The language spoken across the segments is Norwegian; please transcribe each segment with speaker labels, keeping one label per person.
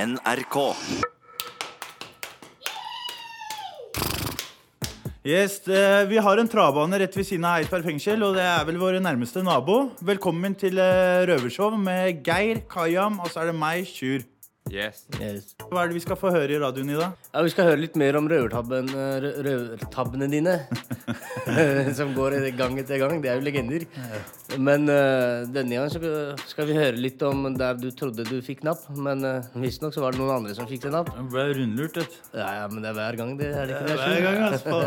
Speaker 1: NRK.
Speaker 2: Yes, det, Vi har en travbane rett ved siden av Eidsberg fengsel, og det er vel vår nærmeste nabo. Velkommen til eh, røvershow med Geir, Kayam, og så er det meg, Sjur.
Speaker 3: Yes.
Speaker 2: Hva er det vi skal få høre i radioen i dag?
Speaker 4: Ja, Vi skal høre litt mer om røvertabben, eh, rø- røvertabbene dine. som går i gang etter gang. Det er jo legender. Men eh, denne gangen så skal vi høre litt om der du trodde du fikk napp. Men uh, visstnok så var det noen andre som fikk det napp.
Speaker 2: Jeg ble rundlurt, vet du.
Speaker 4: Ja, ja, men det er hver gang, det. er det ikke det?
Speaker 2: Hver gang, altså.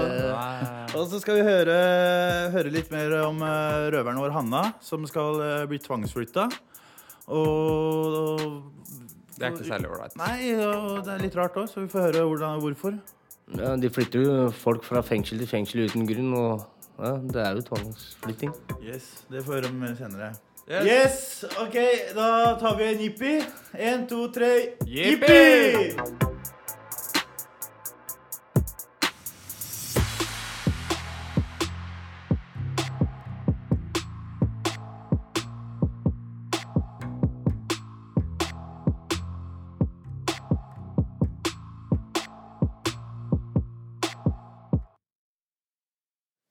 Speaker 2: Og så skal vi høre, høre litt mer om eh, røveren vår, Hanna, som skal eh, bli tvangsflytta. Og,
Speaker 3: Det er ikke særlig ålreit.
Speaker 2: Nei, og det er litt rart òg, så vi får høre hvordan, hvorfor.
Speaker 4: Ja, de flytter jo folk fra fengsel til fengsel uten grunn, og ja, det er jo tvangsflytting.
Speaker 2: Yes, Det får vi høre mer senere.
Speaker 3: Yes.
Speaker 2: Yes, ok, da tar vi en jippi. En, to, tre,
Speaker 3: Jippi!
Speaker 2: jippi!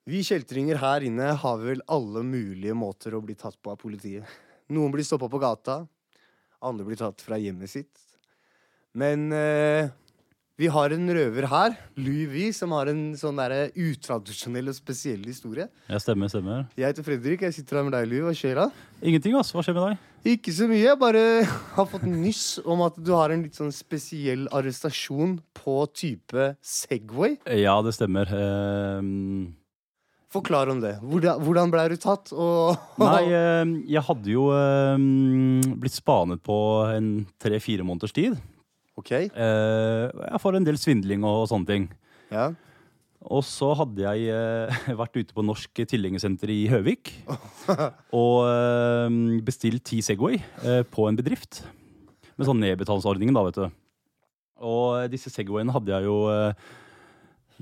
Speaker 5: Vi kjeltringer her inne har vel alle mulige måter å bli tatt på av politiet. Noen blir stoppa på gata, andre blir tatt fra hjemmet sitt. Men eh, vi har en røver her, Louis Vee, som har en sånn derre utradisjonell og spesiell historie.
Speaker 6: Ja, stemmer, stemmer.
Speaker 5: Jeg heter Fredrik, jeg sitter her med deg, Louis. Hva skjer da?
Speaker 6: Ingenting, ass. Hva skjer med deg?
Speaker 5: Ikke så mye. Jeg bare har fått nyss om at du har en litt sånn spesiell arrestasjon på type Segway.
Speaker 6: Ja, det stemmer. Ehm,
Speaker 5: Forklar om det. Hvordan, hvordan blei du tatt, og
Speaker 6: nei, ehm, jeg hadde jo ehm, blitt spanet på en tre-fire måneders tid.
Speaker 5: OK.
Speaker 6: Eh, jeg får en del svindling og, og sånne ting.
Speaker 5: Ja.
Speaker 6: Og så hadde jeg eh, vært ute på Norsk Tilhengersenter i Høvik og ehm, bestilt ti Segway eh, på en bedrift. Med sånn nedbetalingsordningen, da, vet du. Og eh, disse Segwayene hadde jeg jo eh,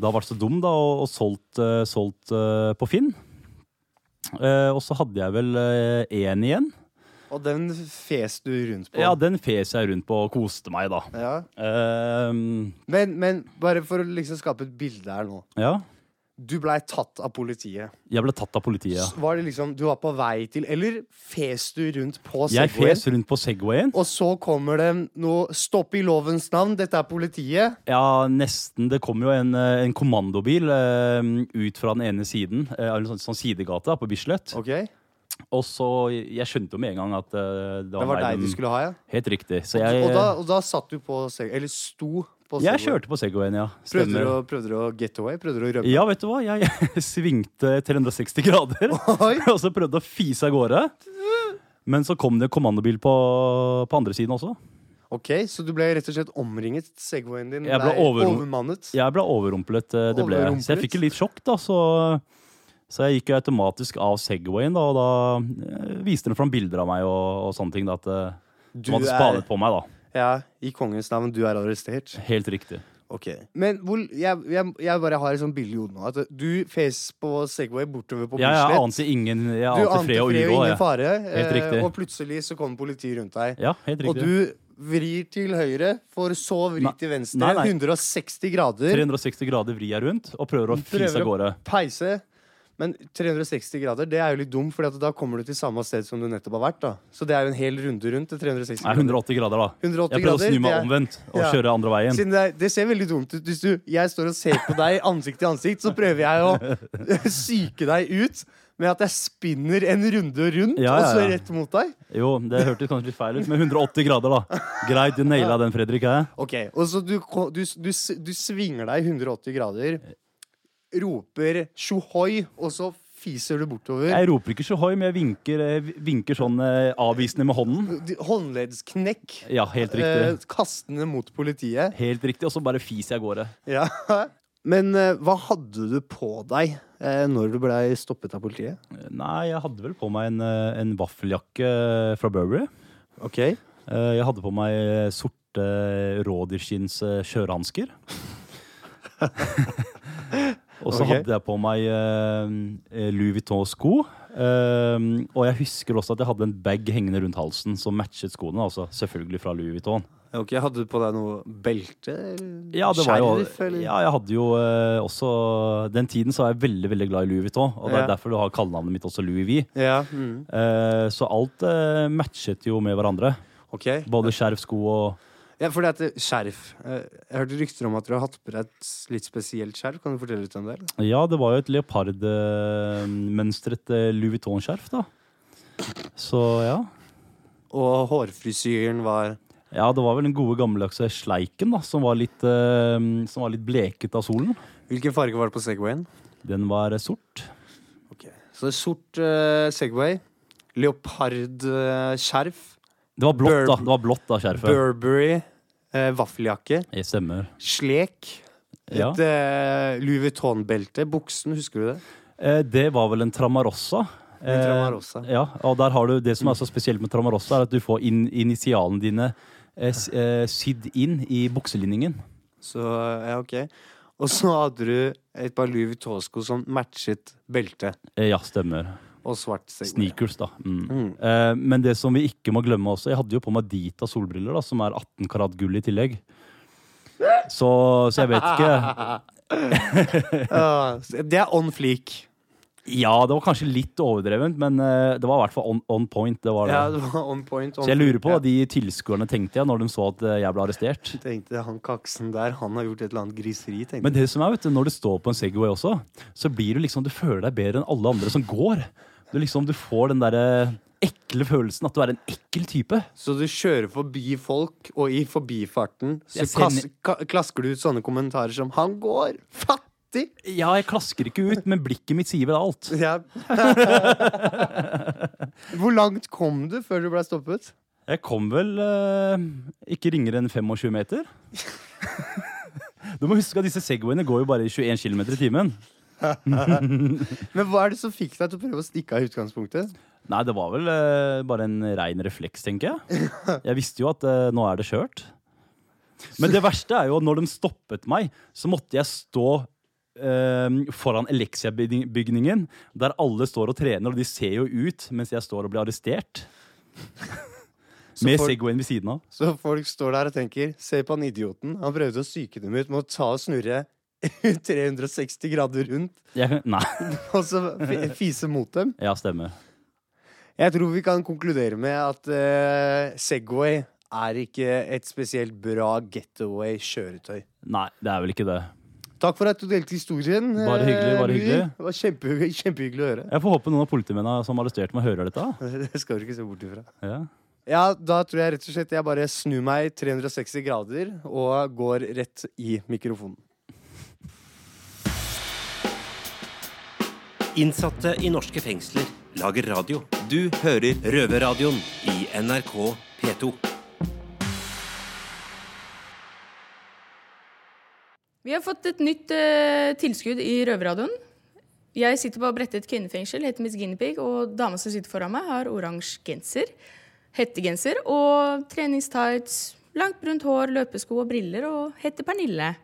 Speaker 6: da vært så dum da, og, og solgt, eh, solgt eh, på Finn. Eh, og så hadde jeg vel én igjen.
Speaker 5: Og den fes du rundt på.
Speaker 6: Ja, den fes jeg rundt på og koste meg, da.
Speaker 5: Ja.
Speaker 6: Ehm,
Speaker 5: um, Men, men bare for å liksom skape et bilde her nå.
Speaker 6: ja.
Speaker 5: Du blei tatt av politiet.
Speaker 6: Jeg ble tatt av
Speaker 5: S-
Speaker 6: politiet.
Speaker 5: Var det liksom, Du var på vei til Eller fes du rundt på
Speaker 6: Jeg
Speaker 5: Segwayen?
Speaker 6: fes rundt på Segwayen.
Speaker 5: Og så kommer det noe Stopp i lovens navn, dette er politiet.
Speaker 6: Ja, nesten. Det kom jo en, eh, en kommandobil eh, ut fra den ene siden, eh, av en sånn, sånn sidegate da, på Bislett.
Speaker 5: Ok,
Speaker 6: Og så, Jeg skjønte jo med en gang at eh, det var,
Speaker 5: Det var
Speaker 6: meg
Speaker 5: deg de
Speaker 6: de-
Speaker 5: skulle ha, ja.
Speaker 6: Helt riktig. Så jeg,
Speaker 5: og, da, og da satt du på Segway. Eller sto på Segway.
Speaker 6: jeg kjørte på Segwayen, ja.
Speaker 5: Prøvde
Speaker 6: Stemmer.
Speaker 5: du, å, prøvde du å get away? Prøvde du å rømme?
Speaker 6: Ja, vet du hva? Jeg svingte 360 grader
Speaker 5: Oi.
Speaker 6: og så prøvde å fise av gårde. Men så kom det en kommandobil på, på andre siden også.
Speaker 5: Ok, Så du ble rett og slett omringet? Segwayen din
Speaker 6: Jeg ble overrump-
Speaker 5: overmannet?
Speaker 6: Jeg ble overrumplet. eh, Det ble. jeg. Så jeg
Speaker 5: Overrumplet?
Speaker 6: fikk jo litt sjokk, da. Så, så jeg gikk jo automatisk av Segwayen, da, og da eh, viste den fram bilder av meg og, og sånne ting. Da, at eh,
Speaker 5: Du
Speaker 6: de hadde
Speaker 5: er,
Speaker 6: spanet på meg, da.
Speaker 5: ja, I kongens navn, du er arrestert.
Speaker 6: Helt riktig.
Speaker 5: Ok. Men hvor, jeg, jeg, jeg bare har et sånt bilde i hodet nå. At du fes på Segway bortover på
Speaker 6: Ja, jeg
Speaker 5: Bislett.
Speaker 6: ante ingen jeg
Speaker 5: Du
Speaker 6: ante fred og uro.
Speaker 5: ingen
Speaker 6: jeg.
Speaker 5: fare.
Speaker 6: Helt riktig.
Speaker 5: eh, Og plutselig så kommer politiet rundt deg.
Speaker 6: Ja, helt
Speaker 5: og
Speaker 6: riktig.
Speaker 5: du vrir til høyre, for så å vri
Speaker 6: Nei,
Speaker 5: til venstre.
Speaker 6: nei, nei.
Speaker 5: 160 grader.
Speaker 6: 360 grader vrir jeg rundt og prøver å fise
Speaker 5: Prøver
Speaker 6: av gårde.
Speaker 5: Peise. Men 360 grader, det er jo litt dumt, for da kommer du til samme sted som du nettopp har vært. da Så det er jo en hel runde rundt. til 360
Speaker 6: Nei,
Speaker 5: grader.
Speaker 6: 180 grader, da.
Speaker 5: 180
Speaker 6: Jeg prøvde å
Speaker 5: grader,
Speaker 6: snu meg
Speaker 5: det er-
Speaker 6: omvendt og
Speaker 5: Ja.
Speaker 6: kjøre andre veien.
Speaker 5: Siden det, er- det ser veldig dumt ut. Hvis du, jeg står og ser på deg ansikt til ansikt, så prøver jeg å psyke deg ut med at jeg spinner en runde rundt,
Speaker 6: Ja,
Speaker 5: og
Speaker 6: ja,
Speaker 5: så
Speaker 6: ja.
Speaker 5: rett mot deg.
Speaker 6: Jo, det hørtes kanskje litt feil ut, men 180 grader, da. Greit, du naila den, Fredrik. Jeg.
Speaker 5: Ok, Og så du, ko- du, du, s- du svinger deg 180 grader, roper tjohoi, og så fiser du bortover.
Speaker 6: Jeg roper ikke så høy, men jeg vinker, eh, vinker sånn eh, avvisende med hånden.
Speaker 5: D- Håndleddsknekk.
Speaker 6: Ja, helt
Speaker 5: Eh,
Speaker 6: riktig.
Speaker 5: kastende mot politiet.
Speaker 6: Helt riktig, Og så bare fiser jeg av gårde.
Speaker 5: Ja. Men eh, hva hadde du på deg eh, når du blei stoppet av politiet?
Speaker 6: Nei, jeg hadde vel på meg en, eh, en vaffeljakke eh, fra Burberry.
Speaker 5: Ok
Speaker 6: Eh, Jeg hadde på meg eh, sorte rådyrskinns eh, kjørehansker. Og så
Speaker 5: Ok.
Speaker 6: hadde jeg på meg eh, Louis Vuitton-sko. Eh, og jeg husker også at jeg hadde en bag hengende rundt halsen som matchet skoene. altså selvfølgelig fra Louis Vuitton.
Speaker 5: Eh, Ok, Hadde du på deg noe belte? eller
Speaker 6: Ja, det var jo,
Speaker 5: Skjerf, eller?
Speaker 6: ja, jeg hadde jo eh, også Den tiden så var jeg veldig veldig glad i Louis Vuitton. Og det er
Speaker 5: Ja.
Speaker 6: derfor du har kallenavnet mitt også Louis V.
Speaker 5: Ja, mm.
Speaker 6: Eh, så alt eh, matchet jo med hverandre.
Speaker 5: ok.
Speaker 6: Både skjerf, sko og
Speaker 5: Ja, fordi at eh, skjerf eh, Jeg hørte rykter om at dere har hatt på deg et litt spesielt skjerf. Kan du fortelle litt om det? eller?
Speaker 6: Ja, det var jo et leopardmønstret eh, Louis Vuitton-skjerf, da. Så ja.
Speaker 5: Og hårfrisyren var
Speaker 6: Ja, det var vel den gode gammeldagse sleiken da, som var litt, eh, som var litt bleket av solen.
Speaker 5: Hvilken farge var det på Segwayen?
Speaker 6: Den var eh, sort.
Speaker 5: Ok, Så sort eh, Segway, leopardskjerf,
Speaker 6: Det var blått,
Speaker 5: Bur-
Speaker 6: da. Det var blått da, skjerfet.
Speaker 5: Burberry, eh, vaffeljakke,
Speaker 6: Jeg stemmer.
Speaker 5: slek, et
Speaker 6: Ja.
Speaker 5: eh, Louis Vuitton-belte, buksen, husker du det?
Speaker 6: Eh, det var vel en Tramarossa.
Speaker 5: En Tramarossa.
Speaker 6: Eh, ja, og der har du Det som er så spesielt med Tramarossa, er at du får in initialene dine eh, s- eh, sydd inn i bukselinningen.
Speaker 5: Så eh, ja, ok. Og så hadde du et par Louis Vuitton-sko som matchet belte
Speaker 6: Eh, ja, stemmer.
Speaker 5: og svart Segway.
Speaker 6: Sneakers, da. Mm. Eh, men det som vi ikke må glemme også Jeg hadde jo på meg Dita solbriller, da, som er 18 karat gull i tillegg. Så, så jeg vet ikke.
Speaker 5: Ja, så det er on fleak.
Speaker 6: Ja, det var kanskje litt overdrevent, men eh, det var i hvert fall on, on point. Det var det.
Speaker 5: Ja, det var on point. On
Speaker 6: så jeg lurer på hva
Speaker 5: fleek,
Speaker 6: de tilskuerne tenkte jeg når de så at eh, jeg ble arrestert.
Speaker 5: ja. Tenkte han kaksen der, han har gjort et eller annet griseri, tenkte
Speaker 6: Men det som er, vet du, når du står på en Segway også, så blir du liksom, du føler deg bedre enn alle andre som går. Du liksom, du får den derre ekle følelsen at du er en ekkel type.
Speaker 5: Så du kjører forbi folk, og i forbifarten så
Speaker 6: Jeg sender-
Speaker 5: kas- ka klasker du ut sånne kommentarer som 'Han går fattig'!
Speaker 6: Ja, jeg klasker ikke ut, men blikket mitt sier vel alt.
Speaker 5: Ja. Hvor langt kom du før du ble stoppet?
Speaker 6: Jeg kom vel eh, ikke ringere enn 25 meter. Du må huske at disse Segwayene går jo bare i 21 km i timen.
Speaker 5: Men hva er det som fikk deg til å prøve å stikke av i utgangspunktet?
Speaker 6: Nei, det var vel eh, bare en rein refleks, tenker jeg. Jeg visste jo at eh, nå er det kjørt. Men det verste er jo at når de stoppet meg, så måtte jeg stå eh, foran Elixia-bygningen, der alle står og trener, og de ser jo ut mens jeg står og blir arrestert. Med
Speaker 5: folk-
Speaker 6: Segwayen ved siden av.
Speaker 5: Så folk står der og tenker 'Se på han idioten'. Han prøvde å psyke dem ut med å ta og snurre 360 grader rundt
Speaker 6: Jeg, nei.
Speaker 5: og så fi- fise mot dem.
Speaker 6: Ja, stemmer.
Speaker 5: Jeg tror vi kan konkludere med at eh, Segway er ikke et spesielt bra getaway-kjøretøy.
Speaker 6: Nei, det er vel ikke det.
Speaker 5: Takk for at du delte historien.
Speaker 6: Bare hyggelig, bare
Speaker 5: eh, Louis.
Speaker 6: hyggelig.
Speaker 5: Det var kjempehyggelig, kjempehyggelig å høre.
Speaker 6: Jeg får håpe noen av politimennene som arresterte meg, hører dette.
Speaker 5: Det skal du ikke se bort ifra.
Speaker 6: Ja.
Speaker 5: Ja, da tror jeg rett og slett jeg bare snur meg 360 grader og går rett i mikrofonen.
Speaker 1: Innsatte i norske fengsler lager radio. Du hører Røverradioen i NRK P2.
Speaker 7: Vi har fått et nytt eh, tilskudd i Røverradioen. Jeg sitter på Bredtvet kvinnefengsel, heter Miss Guinevere, og dama som sitter foran meg, har oransje genser, hettegenser og treningstights, langt brunt hår, løpesko og briller, og heter Pernille.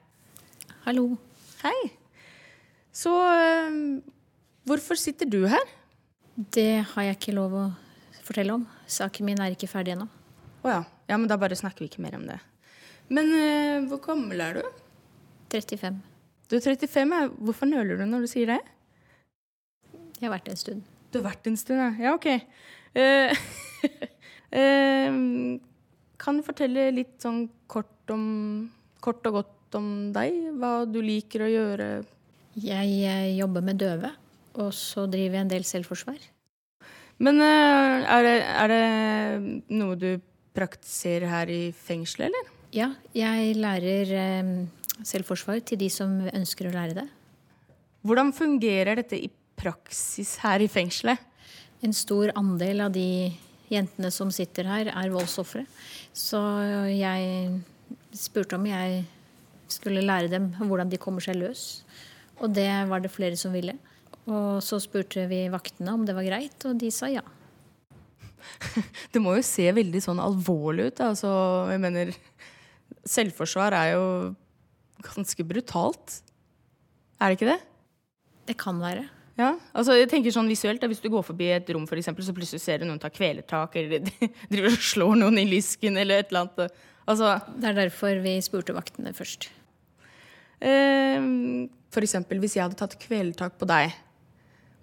Speaker 8: Hallo.
Speaker 7: Hei. Så eh, hvorfor sitter du her?
Speaker 8: Det har jeg ikke lov å fortelle om. Saken min er ikke ferdig ennå.
Speaker 7: Å ja. ja, men da bare snakker vi ikke mer om det. Men eh, hvor gammel er du?
Speaker 8: 35.
Speaker 7: Du er 35, ja. hvorfor nøler du når du sier det?
Speaker 8: Jeg har vært det en stund.
Speaker 7: Du har vært en stund, ja. Ja, ok. Eh, eh, kan du fortelle litt sånn kort, om, kort og godt om deg? Hva du liker å gjøre?
Speaker 8: Jeg eh, jobber med døve, og så driver jeg en del selvforsvar.
Speaker 7: Men eh, er, det, er det noe du praktiserer her i fengselet, eller?
Speaker 8: Ja, jeg lærer eh, selvforsvar til de som ønsker å lære det.
Speaker 7: Hvordan fungerer dette i praksis her i fengselet?
Speaker 8: En stor andel av de jentene som sitter her, er voldsofre. Så jeg spurte om jeg skulle lære dem hvordan de kommer seg løs. Og det var det flere som ville. Og så spurte vi vaktene om det var greit, og de sa ja.
Speaker 7: Det må jo se veldig sånn alvorlig ut. da. Altså, jeg mener, selvforsvar er jo ganske brutalt. Er det ikke det?
Speaker 8: Det kan være.
Speaker 7: Ja, altså jeg tenker sånn visuelt da, Hvis du går forbi et rom, for eksempel, så plutselig ser du noen ta kvelertak eller driver og slår noen i lysken eller et eller annet. Altså
Speaker 8: Det er derfor vi spurte vaktene først.
Speaker 7: eh, For eksempel hvis jeg hadde tatt kvelertak på deg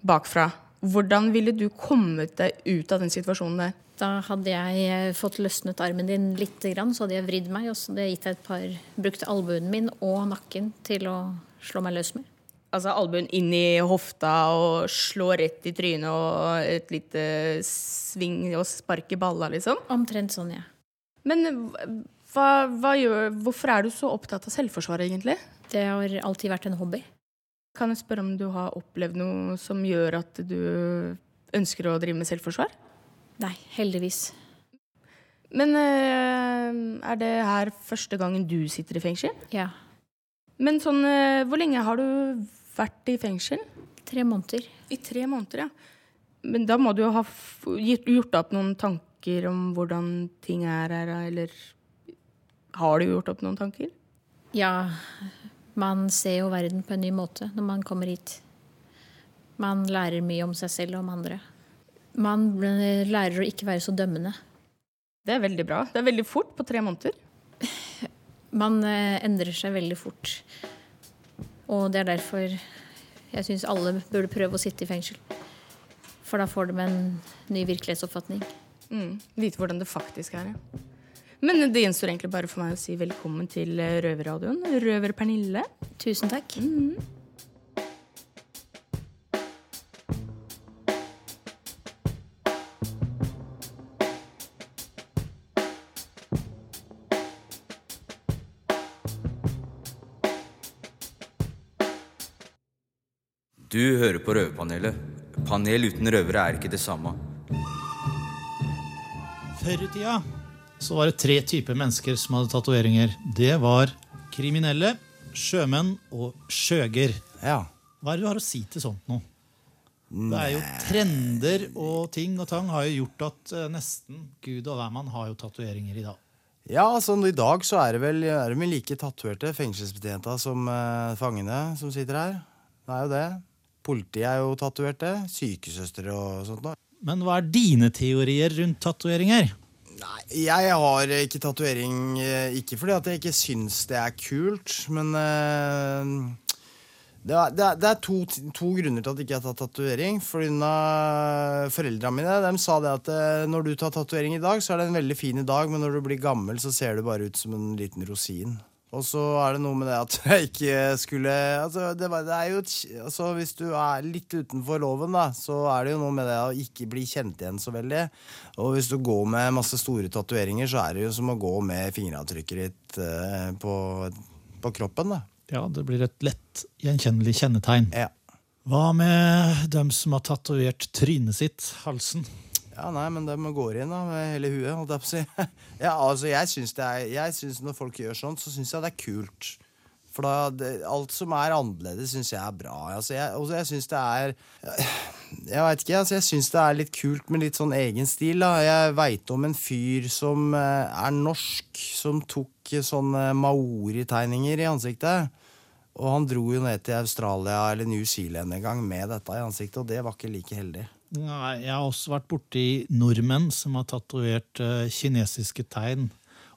Speaker 7: bakfra, hvordan ville du kommet deg ut av den situasjonen der?
Speaker 8: Da hadde jeg eh, fått løsnet armen din litt, grann, så hadde jeg vridd meg, og så hadde jeg gitt deg et par Brukt albuen min og nakken til å slå meg løs med.
Speaker 7: Altså albuen inn i hofta og slå rett i trynet og et lite sving og spark i balla, liksom.
Speaker 8: Omtrent sånn, ja.
Speaker 7: Men hva- hva, hva gjør, hvorfor er du så opptatt av selvforsvar, egentlig?
Speaker 8: Det har alltid vært en hobby.
Speaker 7: Kan jeg spørre om du har opplevd noe som gjør at du ønsker å drive med selvforsvar?
Speaker 8: Nei, heldigvis.
Speaker 7: Men eh, er det her første gangen du sitter i fengsel?
Speaker 8: Ja.
Speaker 7: Men sånn, eh, hvor lenge har du vært i fengsel?
Speaker 8: Tre måneder.
Speaker 7: I tre måneder, ja. Men da må du jo ha f gitt- gjort opp noen tanker om hvordan ting er her, eller Har du gjort opp noen tanker?
Speaker 8: Ja, man ser jo verden på en ny måte når man kommer hit. Man lærer mye om seg selv og om andre. Man eh, lærer å ikke være så dømmende.
Speaker 7: Det er veldig bra. Det er veldig fort på tre måneder.
Speaker 8: Man eh, endrer seg veldig fort. Og det er derfor jeg syns alle burde prøve å sitte i fengsel. For da får de en ny virkelighetsoppfatning.
Speaker 7: Mm. Vite hvordan det faktisk er, ja. Men det gjenstår egentlig bare for meg å si velkommen til eh, Røverradioen. Røver Pernille. Mm.
Speaker 8: Tusen takk.
Speaker 9: Du hører på Røverpanelet. Panel uten røvere er ikke det samme.
Speaker 10: Før i tida så var det tre typer mennesker som hadde tatoveringer. Det var kriminelle, sjømenn og sjøger.
Speaker 9: Ja.
Speaker 10: Hva er det du har å si til sånt nå? Det er jo trender og ting og tang har jo gjort at eh, nesten gud og hvermann har jo tatoveringer i dag.
Speaker 11: Ja, altså I dag så er det vel er de like tatoverte fengselsbetjenta som eh, fangene som sitter her. Det er jo det. Politiet er jo tatoverte. Sykesøstre og sånt noe.
Speaker 10: Men hva er dine teorier rundt tatoveringer?
Speaker 11: Nei, jeg har ikke tatovering eh, ikke fordi at jeg ikke syns det er kult, men eh, det er, det er, det er to, to grunner til at jeg ikke har tatt tatovering. Foreldra mine de sa det at eh, når du tar tatovering i dag, så er det en veldig fin i dag, men når du blir gammel, så ser du bare ut som en liten rosin. Og så er det noe med det at jeg ikke skulle altså, det, var, det er jo, et kj- altså, Hvis du er litt utenfor loven, da, så er det jo noe med det å ikke bli kjent igjen så veldig. Og hvis du går med masse store tatoveringer, så er det jo som å gå med fingeravtrykket ditt eh, på, på kroppen. da.
Speaker 10: Ja, det blir et lett gjenkjennelig kjennetegn.
Speaker 11: Ja.
Speaker 10: Hva med dem som har tatovert trynet sitt, halsen?
Speaker 11: Ja, nei, men de går inn da, med hele huet, holdt jeg på å si. ja, altså, jeg syns, det er, jeg syns når folk gjør sånt, så syns jeg det er kult. For da, det, alt som er annerledes, syns jeg er bra. Altså, jeg, og jeg syns det er Jeg veit ikke, altså, jeg syns det er litt kult med litt sånn egen stil. Da. Jeg veit om en fyr som eh, er norsk, som tok eh, sånne maori-tegninger i ansiktet. Og han dro jo ned til Australia eller New Zealand en gang med dette i ansiktet, og det var ikke like heldig.
Speaker 10: Nei, jeg har også vært borti nordmenn som har tatovert eh, kinesiske tegn.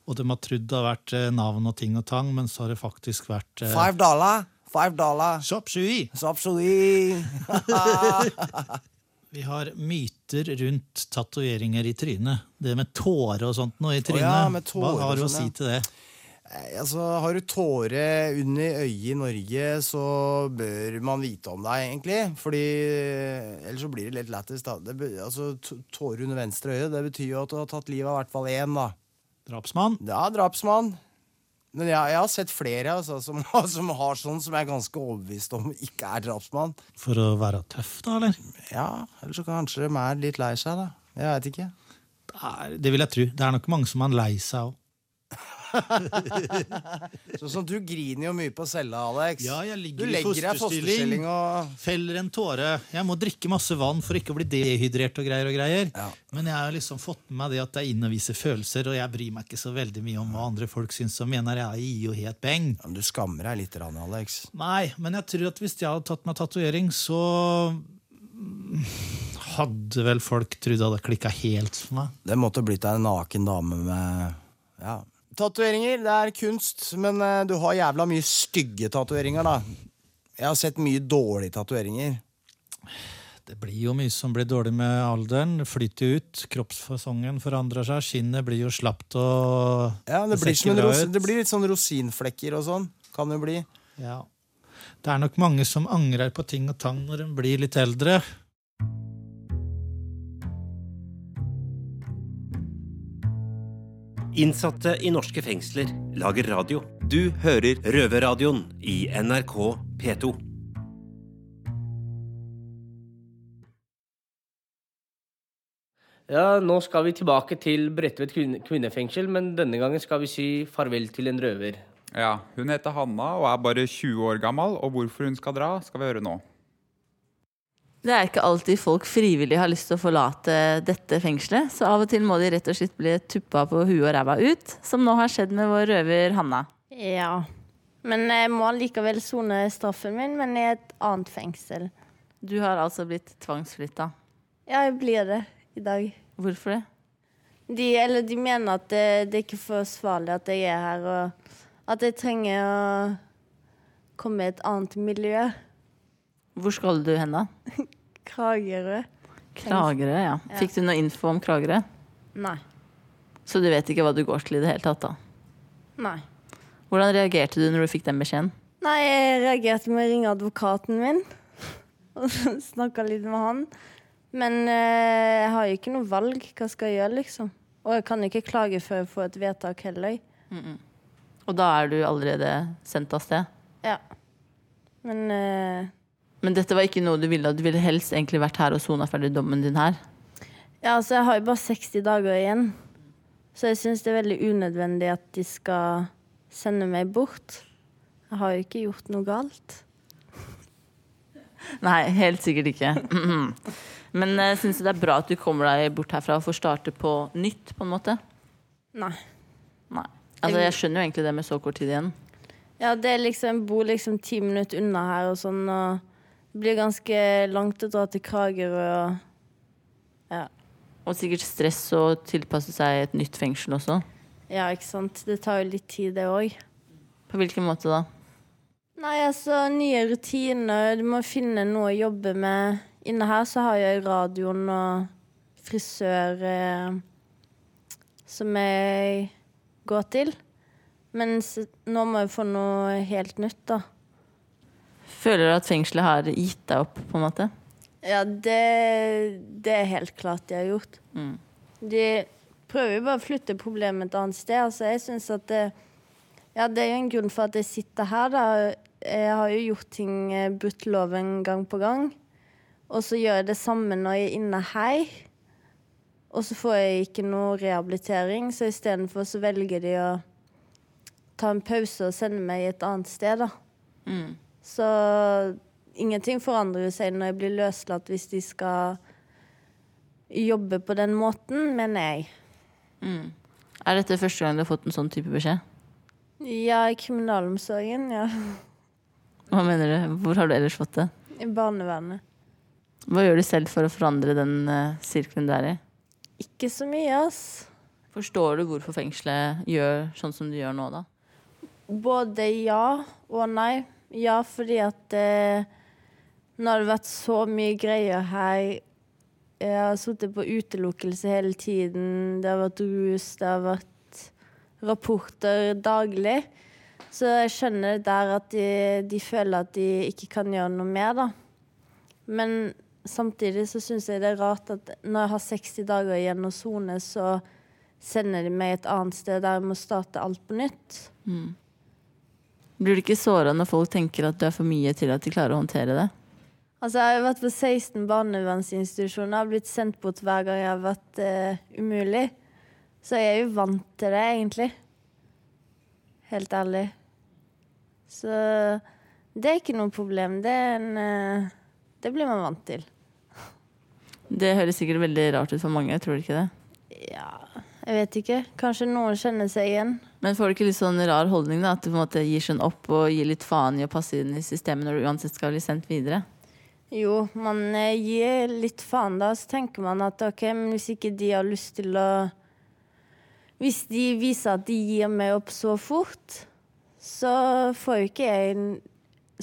Speaker 10: Og de har trodd det har vært eh, navn og ting og tang, men så har det faktisk vært uh,
Speaker 11: Five dollar! Five dollar!
Speaker 10: Chop shui!
Speaker 11: Sapsoli!
Speaker 10: Vi har myter rundt tatoveringer i trynet. Det med tårer og sånt noe i trynet.
Speaker 11: ja, med tårer
Speaker 10: Hva har du
Speaker 11: og
Speaker 10: å si
Speaker 11: sånn,
Speaker 10: til det?
Speaker 11: altså, har du tåre under øyet i Norge, så bør man vite om deg, egentlig. Fordi eh, Ellers så blir det litt lættis, da. Det, be- altså, t- tåre under venstre øye, det betyr jo at du har tatt livet av i hvert fall én, da.
Speaker 10: Drapsmann?
Speaker 11: Ja, drapsmann. Men jeg, jeg har sett flere altså, som, som har sånn som jeg er ganske overbevist om ikke er drapsmann.
Speaker 10: For å være tøff, da, eller?
Speaker 11: Ja, eller så kanskje de er litt lei seg, da. Jeg veit ikke.
Speaker 10: Det, er, det vil jeg tro. Det er nok mange som er lei seg òg.
Speaker 11: Sånn som du griner jo mye på cella, Alex.
Speaker 10: Ja, jeg ligger
Speaker 11: du
Speaker 10: i
Speaker 11: legger deg i fosterstilling
Speaker 10: fosterstilling.
Speaker 11: og
Speaker 10: Feller en tåre. Jeg må drikke masse vann for ikke å bli dehydrert. og greier og greier.
Speaker 11: Ja.
Speaker 10: Men jeg har liksom fått med meg det at det er inne å vise følelser, og jeg bryr meg ikke så veldig mye om hva andre folk syns og mener. Jeg gir jo helt beng.
Speaker 11: Ja, men du skammer deg litt, Rani, Alex.
Speaker 10: Nei, men jeg tror at hvis jeg hadde tatt meg tatovering, så mm, hadde vel folk trodd det hadde klikka helt for meg.
Speaker 11: eh, Det måtte blitt ei naken dame med Ja. Tatoveringer, det er kunst, men eh, du har jævla mye stygge tatoveringer, da. Jeg har sett mye dårlige tatoveringer.
Speaker 10: Det blir jo mye som blir dårlig med alderen. Det Flyter ut, kroppsfasongen forandrer seg, skinnet blir jo slapt og
Speaker 11: Ja, det,
Speaker 10: ser
Speaker 11: blir
Speaker 10: ikke
Speaker 11: som en
Speaker 10: bra
Speaker 11: ros
Speaker 10: ut.
Speaker 11: det blir litt sånn rosinflekker og sånn. Kan det bli.
Speaker 10: Ja. Det er nok mange som angrer på ting og tang når de blir litt eldre.
Speaker 1: Innsatte i norske fengsler lager radio. Du hører Røverradioen i NRK P2.
Speaker 4: Ja, nå skal vi tilbake til Bredtvet kvinne, kvinnefengsel, men denne gangen skal vi si farvel til en røver.
Speaker 3: Ja, Hun heter Hanna og er bare 20 år gammel, og hvorfor hun skal dra, skal vi høre nå.
Speaker 12: Det er ikke alltid folk frivillig har lyst til å forlate dette fengselet, så av og til må de rett og slett bli tuppa på huet og ræva ut, som nå har skjedd med vår røver Hanna.
Speaker 13: Ja. Men jeg må likevel sone straffen min, men i et annet fengsel.
Speaker 12: Du har altså blitt tvangsflytta.
Speaker 13: Ja, jeg blir det i dag.
Speaker 12: Hvorfor det?
Speaker 13: De, eller de mener at det, det er ikke forsvarlig at jeg er her, og at jeg trenger å komme i et annet miljø.
Speaker 12: Hvor skal du hen da?
Speaker 13: Kragerø.
Speaker 12: Kragerø, ja.
Speaker 13: Ja.
Speaker 12: Fikk du noe info om Kragerø?
Speaker 13: Nei.
Speaker 12: Så du vet ikke hva du går til i det hele tatt, da.
Speaker 13: Nei.
Speaker 12: Hvordan reagerte du når du fikk den beskjeden?
Speaker 13: Nei, jeg reagerte med å ringe advokaten min og snakke litt med han. Men eh, jeg har jo ikke noe valg. Hva skal jeg gjøre, liksom? Og jeg kan jo ikke klage før jeg får et vedtak heller.
Speaker 12: Og da er du allerede sendt av sted?
Speaker 13: Ja. Men eh,
Speaker 12: Men dette var ikke noe du ville? Du ville helst egentlig vært her og sona ferdig dommen din her?
Speaker 13: ja, altså, jeg har jo bare 60 dager igjen. Så jeg syns det er veldig unødvendig at de skal sende meg bort. Jeg har jo ikke gjort noe galt.
Speaker 12: Nei, helt sikkert ikke. Mhm. Men uh, syns du det er bra at du kommer deg bort herfra og får starte på nytt, på en måte?
Speaker 13: Nei.
Speaker 12: Nei. Altså, jeg skjønner jo egentlig det med så kort tid igjen.
Speaker 13: Ja, det er liksom, jeg bor liksom ti minutter unna her og sånn, og det blir ganske langt å dra til Kragerø og ja.
Speaker 12: Og sikkert stress å tilpasse seg et nytt fengsel også.
Speaker 13: ja, ikke sant. Det tar jo litt tid, det òg.
Speaker 12: På hvilken måte da?
Speaker 13: Nei, altså, nye rutiner. Du må finne noe å jobbe med. Inne her så har jeg radioen og frisør eh, som jeg går til. Mens nå må jeg få noe helt nytt, da.
Speaker 12: Føler du at fengselet har gitt deg opp, på en måte?
Speaker 13: Ja, det, det er helt klart de har gjort.
Speaker 12: Mm.
Speaker 13: De prøver jo bare å flytte problemet et annet sted. Altså, jeg synes at det, ja, det er jo en grunn for at jeg sitter her. Da. Jeg har jo gjort ting, eh, brutt loven gang på gang. Og så gjør jeg det samme når jeg er inne her. Og så får jeg ikke noe rehabilitering, så istedenfor så velger de å ta en pause og sende meg et annet sted, da.
Speaker 12: Mm.
Speaker 13: Så ingenting forandrer jo seg når jeg blir løslatt, hvis de skal jobbe på den måten, mener jeg.
Speaker 12: Mm. Er dette første gang du har fått en sånn type beskjed?
Speaker 13: Ja, i kriminalomsorgen, ja.
Speaker 12: Hva mener du? Hvor har du ellers fått det?
Speaker 13: I barnevernet.
Speaker 12: Hva gjør du selv for å forandre den eh, sirkelen du er i?
Speaker 13: Ikke så mye, ass.
Speaker 12: Forstår du hvorfor fengselet gjør sånn som du gjør nå, da?
Speaker 13: Både ja og nei. Ja, fordi at eh, nå har det vært så mye greier her. Jeg har sittet på utelukkelse hele tiden. Det har vært rus, det har vært rapporter daglig. Så jeg skjønner det der at de, de føler at de ikke kan gjøre noe mer, da. Men samtidig så syns jeg det er rart at når jeg har 60 dager igjen å sone, så sender de meg et annet sted der jeg må starte alt på nytt.
Speaker 12: Mm. Blir du ikke såra når folk tenker at du er for mye til at de klarer å håndtere det?
Speaker 13: Altså, jeg har vært på 16 barnevernsinstitusjoner. Jeg har blitt sendt bort hver gang jeg har vært eh, umulig. Så jeg er jo vant til det, egentlig. Helt ærlig. Så det er ikke noe problem. Det, er en, eh, det blir man vant til.
Speaker 12: Det høres sikkert veldig rart ut for mange, tror du ikke det?
Speaker 13: Jeg vet ikke. Kanskje noen kjenner seg igjen.
Speaker 12: Men får du ikke litt sånn rar holdning, da? At du på en måte gir sånn opp og gir litt faen i å passe inn i systemet når du uansett skal bli sendt videre?
Speaker 13: Jo, man eh, gir litt faen da, så tenker man at ok, men hvis ikke de har lyst til å Hvis de viser at de gir meg opp så fort, så får jo ikke jeg en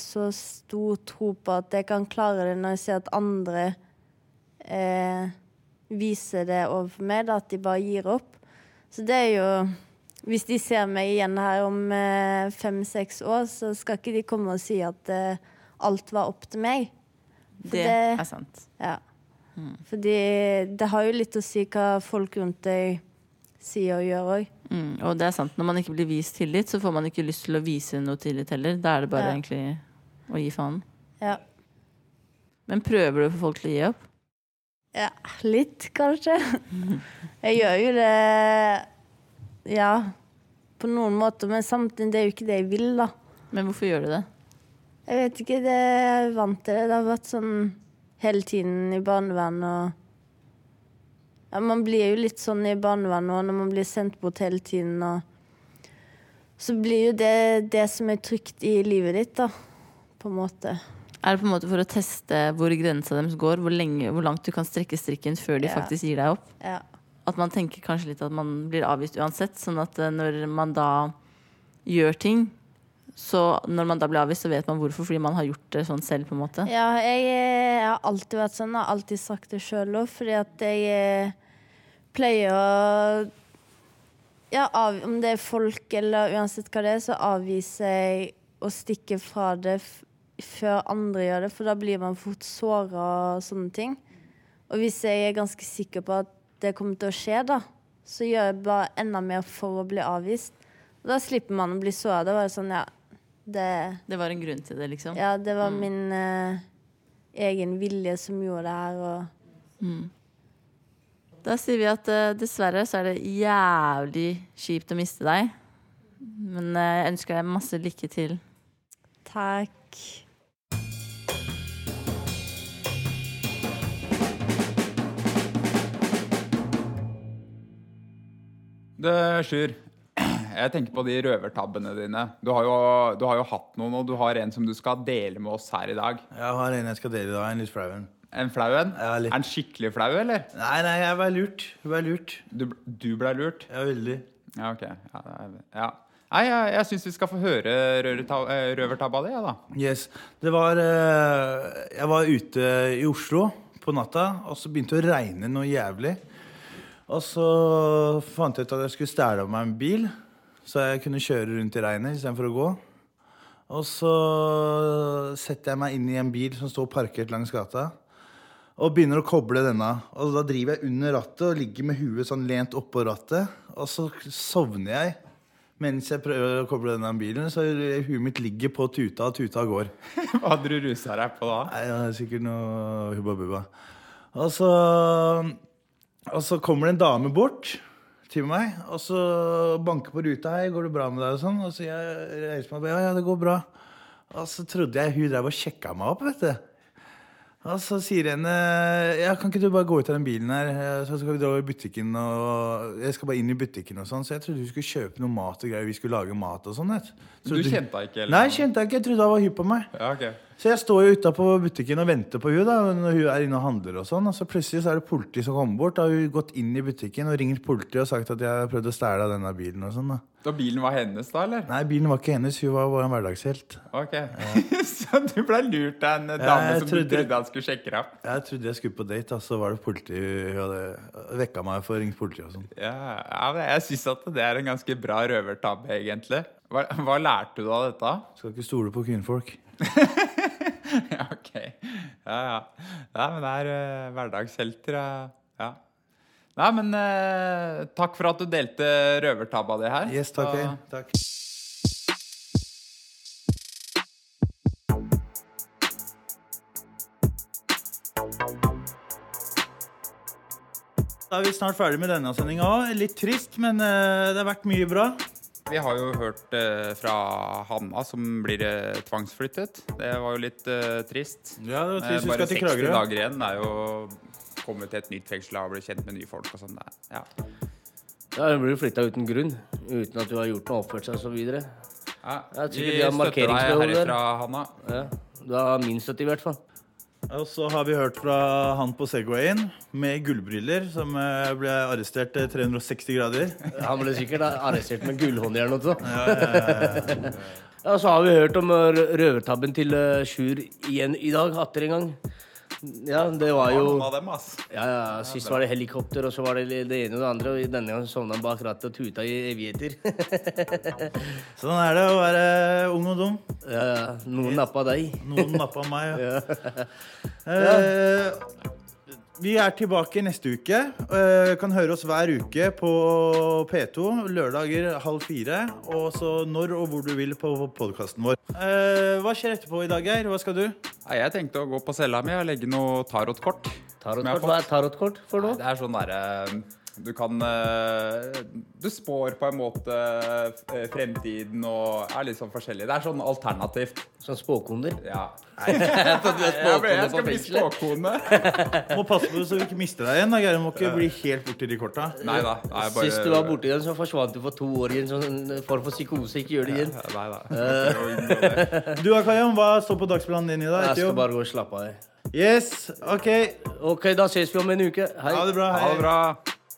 Speaker 13: så stor tro på at jeg kan klare det når jeg ser at andre eh, viser det overfor meg, da, at de bare gir opp. Så det er jo Hvis de ser meg igjen her om eh, fem-seks år, så skal ikke de komme og si at eh, alt var opp til meg. For
Speaker 12: Det er sant. Mm.
Speaker 13: Ja. Fordi det har jo litt å si hva folk rundt deg sier og gjør òg.
Speaker 12: Mm, og det er sant, når man ikke blir vist tillit, så får man ikke lyst til å vise noe tillit heller. Da er det bare
Speaker 13: Ja.
Speaker 12: egentlig å gi faen.
Speaker 13: Ja.
Speaker 12: Men prøver du å få folk til å gi opp?
Speaker 13: Ja, litt, kanskje. Jeg gjør jo det Ja, på noen måter, men samtidig det er jo ikke det jeg vil, da.
Speaker 12: Men hvorfor gjør du det?
Speaker 13: Jeg vet ikke, det jeg er vant til det. Det har vært sånn hele tiden i barnevernet og ja, Man blir jo litt sånn i barnevernet òg, når man blir sendt bort hele tiden og Så blir jo det det som er trygt i livet ditt, da, på en måte.
Speaker 12: Er det på en måte for å teste hvor grensa deres går? Hvor, lenge, hvor langt du kan strekke strikken før de
Speaker 13: Ja.
Speaker 12: faktisk gir deg opp?
Speaker 13: Ja.
Speaker 12: At man tenker kanskje litt at man blir avvist uansett. Sånn at eh, når man da gjør ting, så når man da blir avvist, så vet man hvorfor. Fordi man har gjort det sånn selv, på en måte.
Speaker 13: Ja, jeg, eh, har alltid vært sånn, og alltid sagt det sjøl òg, fordi at jeg eh, pleier å Ja, av, om det er folk eller uansett hva det er, så avviser jeg å stikke fra det f før andre gjør det, for da blir man fort såra og sånne ting. Og hvis jeg er ganske sikker på at det kommer til å skje, da, så gjør jeg bare enda mer for å bli avvist. Og da slipper man å bli såra. Da var det sånn, ja, det
Speaker 12: Det var en grunn til det, liksom.
Speaker 13: ja, det var min eh, egen vilje som gjorde det her. Og
Speaker 12: Mm. Da sier vi at eh, dessverre så er det jævlig kjipt å miste deg. Men eh, jeg ønsker deg masse lykke til.
Speaker 13: takk.
Speaker 3: Du, Sjur. Jeg tenker på de røvertabbene dine. Du har, jo, du har jo hatt noen, og du har en som du skal dele med oss her i dag.
Speaker 2: Jeg har en jeg skal dele i dag. En litt flau en.
Speaker 3: En flau en? Er den skikkelig flau, eller?
Speaker 2: Nei, nei, jeg ble lurt. Jeg ble lurt.
Speaker 3: Du, du ble lurt?
Speaker 2: Ja, veldig.
Speaker 3: Ja, ok. Ja, det er- ja. Nei, jeg, jeg syns vi skal få høre røreta- eh, røvertabba di, ja, da.
Speaker 2: Yes. Det var eh, Jeg var ute i Oslo på natta, og så begynte det å regne noe jævlig. Og så fant jeg ut at jeg skulle stjele meg en bil, så jeg kunne kjøre rundt i regnet istedenfor å gå. Og så setter jeg meg inn i en bil som står parkert langs gata, og begynner å koble denne. Og da driver jeg under rattet og ligger med huet sånn lent oppå rattet, og så sovner jeg. Mens jeg prøver å koble denne bilen, så huet mitt ligger på tuta, og tuta går.
Speaker 3: Hva hadde du rusa deg på da?
Speaker 2: Nei, det er Sikkert noe hubba bubba. Og så, og så kommer det en dame bort til meg og så banker på ruta. Hei, 'Går det bra med deg?' og sånn. Og så jeg reiser meg opp. Ja, ja, det går bra. Og så trodde jeg hun drev og sjekka meg opp, vet du. Og så sier hun ja, 'Kan ikke du bare gå ut av den bilen her, Eh, så skal vi dra over i butikken?' Og jeg skal bare inn i butikken og sånn. Så jeg trodde hun skulle kjøpe noe mat og greier. Vi skulle lage mat og sånn. vet
Speaker 3: Du
Speaker 2: Trodde-
Speaker 3: kjente henne ikke? eller?
Speaker 2: Nei, kjente jeg ikke. Jeg trodde hun var hypp på meg.
Speaker 3: Ja, ok.
Speaker 2: Så jeg står jo utapå butikken og venter på hun da, når hun er inne og handler. Og sånn, og så plutselig så er det politi som kommer bort. Da har hun gått inn i butikken og ringer politiet og sagt at jeg har prøvd å stjele av denne bilen. og sånn da.
Speaker 3: Da bilen var hennes, da, eller?
Speaker 2: Nei, bilen var ikke hennes, hun var bare en hverdagshelt.
Speaker 3: Ok. Så du ble lurt av en dame
Speaker 2: jeg
Speaker 3: som du
Speaker 2: trodde-
Speaker 3: trodde han skulle sjekke deg opp?
Speaker 2: Jeg trodde jeg skulle på date, og så var det politi hun hadde vekka meg for å ringe politiet og sånn.
Speaker 3: Ja, ja, men jeg syns at det er en ganske bra røvertabbe, egentlig. Hva, hva lærte du av dette?
Speaker 2: Skal ikke stole på kvinnfolk.
Speaker 3: Ok. Ja, ja. Nei, men det er eh, hverdagshelter. ja. Ja. Nei, men eh, takk for at du delte røvertabba di her.
Speaker 2: Yes, takk.
Speaker 3: Så-
Speaker 2: Øyvind. takk. Da er vi snart ferdig med denne sendinga òg. Litt trist, men eh, det har vært mye bra.
Speaker 3: Vi har jo hørt eh, fra Hanna som blir eh, tvangsflyttet. Det var jo litt eh, trist.
Speaker 2: Ja, det var trist.
Speaker 3: Eh,
Speaker 2: Hun
Speaker 3: Bare
Speaker 2: skal til
Speaker 3: 60
Speaker 2: Kragerø.
Speaker 3: dager igjen. Det er jo komme til et nytt fengsel og bli kjent med nye folk og sånn. Det er- Ja.
Speaker 4: Ja, Hun blir flytta uten grunn. Uten at hun har gjort noe oppført seg osv. Ja, jeg
Speaker 3: Ja,
Speaker 4: tror
Speaker 3: vi
Speaker 4: ikke de har
Speaker 3: støtter deg
Speaker 4: markeringsbehov der.
Speaker 3: herifra, Hanna.
Speaker 4: Ja, du har min støtte, i hvert fall.
Speaker 2: Og så har vi hørt fra han på Segwayen med gullbriller, som eh, ble arrestert eh, 360 grader.
Speaker 4: Han ble sikkert arrestert med gullhåndjern også.
Speaker 2: Ja, ja, ja, ja.
Speaker 4: Ja, så har vi hørt om eh, rø- røvertabben til eh, Sjur igjen i dag, atter en gang. Ja, det var jo
Speaker 3: Noen av dem, ass.
Speaker 4: Ja, ja, Sist var det helikopter, og så var det det ene og det andre. Og denne gangen sovna han bak rattet og tuta i evigheter.
Speaker 2: sånn er det å være ung og dum.
Speaker 4: Ja, ja. Noen nappa deg.
Speaker 2: Noen nappa meg,
Speaker 4: ja.
Speaker 2: Eh, vi er tilbake neste uke. Eh, kan høre oss hver uke på P2 lørdager halv fire. Og så når og hvor du vil på podkasten vår. Eh, hva skjer etterpå i dag, Geir? Hva skal du?
Speaker 3: Nei, jeg tenkte å gå på cella mi og legge noe tarotkort.
Speaker 4: Tarotkort? Hva er tarotkort for
Speaker 3: noe? Det er sånn derre Du kan eh, Du spår på en måte eh, fremtiden og er litt sånn forskjellig. Det er sånn alternativt.
Speaker 4: Sånn spåkoner?
Speaker 3: Ja.
Speaker 4: Nei, så du er
Speaker 3: Jeg ble- jeg
Speaker 4: spåkone
Speaker 3: skal
Speaker 4: på
Speaker 3: bli
Speaker 4: fengselet?
Speaker 3: spåkone.
Speaker 2: Må passe på så vi ikke mister deg igjen. da, Geir. Du må ikke bli helt borti de korta.
Speaker 4: Sist du var borti den, så forsvant du for to år i en sånn form for psykose. Ikke gjør det igjen. Eh.
Speaker 3: Nei,
Speaker 2: Du Akayam, hva står på dagsplanen din i dag?
Speaker 4: Jeg
Speaker 2: Ikke
Speaker 4: skal
Speaker 2: jobb?
Speaker 4: bare gå og slappe av. jeg.
Speaker 2: Yes, ok.
Speaker 4: Ok, da ses vi om en uke. Hei.
Speaker 2: Ha det bra.
Speaker 3: Ha det bra.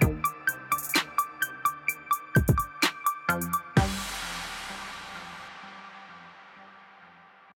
Speaker 14: you.